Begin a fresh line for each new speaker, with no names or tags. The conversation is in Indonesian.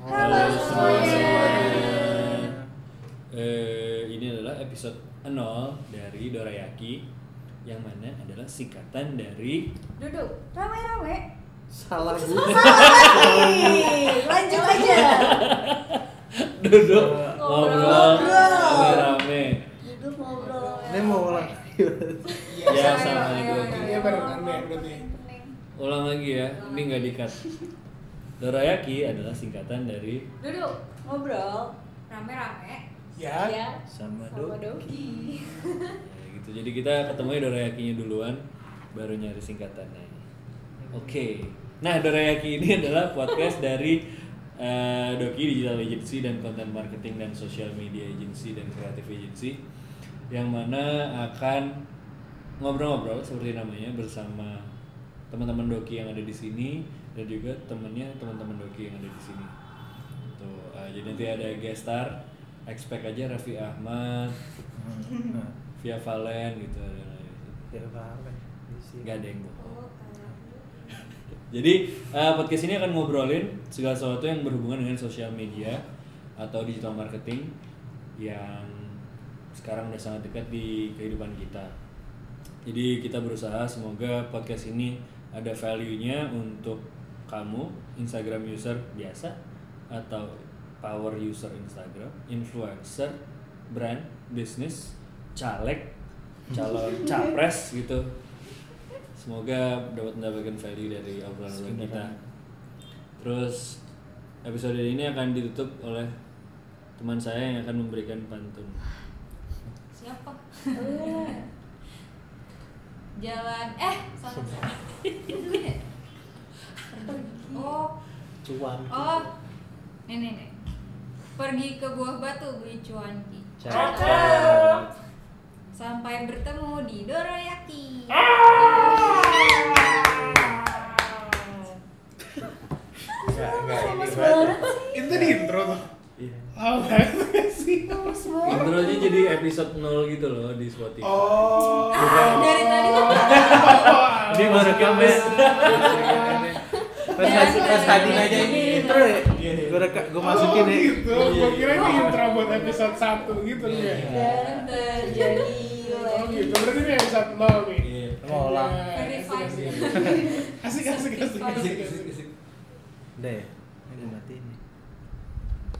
Oh, Halo iya. semuanya.
Eh, ini adalah episode 0 dari Dorayaki yang mana adalah singkatan dari
Duduk ramai-ramai.
Salah gue.
Hai, Lanjut aja.
duduk
Ngobrol.
ngobrol rame-rame.
Duduk ngobrol.
Ini mau ulang.
Ya, assalamualaikum.
Ini barengan ya berarti.
Ulang lagi ya, ini nggak dikat. Dorayaki adalah singkatan dari
Duduk ngobrol ramai-ramai.
Ya.
sama
Sama
do.
Doki.
Ya, gitu. Jadi kita ketemunya Dorayakinya duluan, baru nyari singkatannya. Oke. Nah, Dorayaki ini adalah podcast dari eh, Doki Digital Agency dan Content Marketing dan Social Media Agency dan Creative Agency yang mana akan ngobrol-ngobrol seperti namanya bersama teman-teman Doki yang ada di sini dan juga temennya teman-teman Doki yang ada di sini. Tuh, eh, jadi nanti ada guest star, expect aja Raffi Ahmad, via Valen gitu ada lagi.
Ya Valen. Di sini.
nggak ada yang bohong jadi eh, podcast ini akan ngobrolin segala sesuatu yang berhubungan dengan sosial media atau digital marketing yang sekarang udah sangat dekat di kehidupan kita jadi kita berusaha semoga podcast ini ada value-nya untuk kamu Instagram user biasa atau power user Instagram, influencer, brand, bisnis, caleg, calon capres gitu. Semoga dapat mendapatkan value dari obrolan kita. Terus episode ini akan ditutup oleh teman saya yang akan memberikan pantun.
Siapa? Jalan eh salah. Iya. Oh,
Cuan.
oh. Nih nih nih. Pergi ke buah batu beli cuanki.
Cakep.
Sampai bertemu di Dorayaki.
Enggak, enggak
Nah,
ini berarti-
Itu di intro tuh.
Iya.
Oh, nggak sih.
Intronya jadi episode 0 gitu loh di Spotify.
Oh.
Dari tadi tuh
Dia baru kemes.
Pas tadi pas tadi aja ini intro ya.
Iya, iya.
Gue reka, gue masukin
oh,
ya.
gitu.
Iya,
Gua kira ini intro buat episode 1 gitu ya.
Iya.
dan terjadi
Oh
lagi.
gitu. Berarti ini episode 0 nih.
Iya.
Mau ulang.
Ya,
Verified.
Asik asik asik asik. asik, asik.
Udah ya. Ini dimatiin.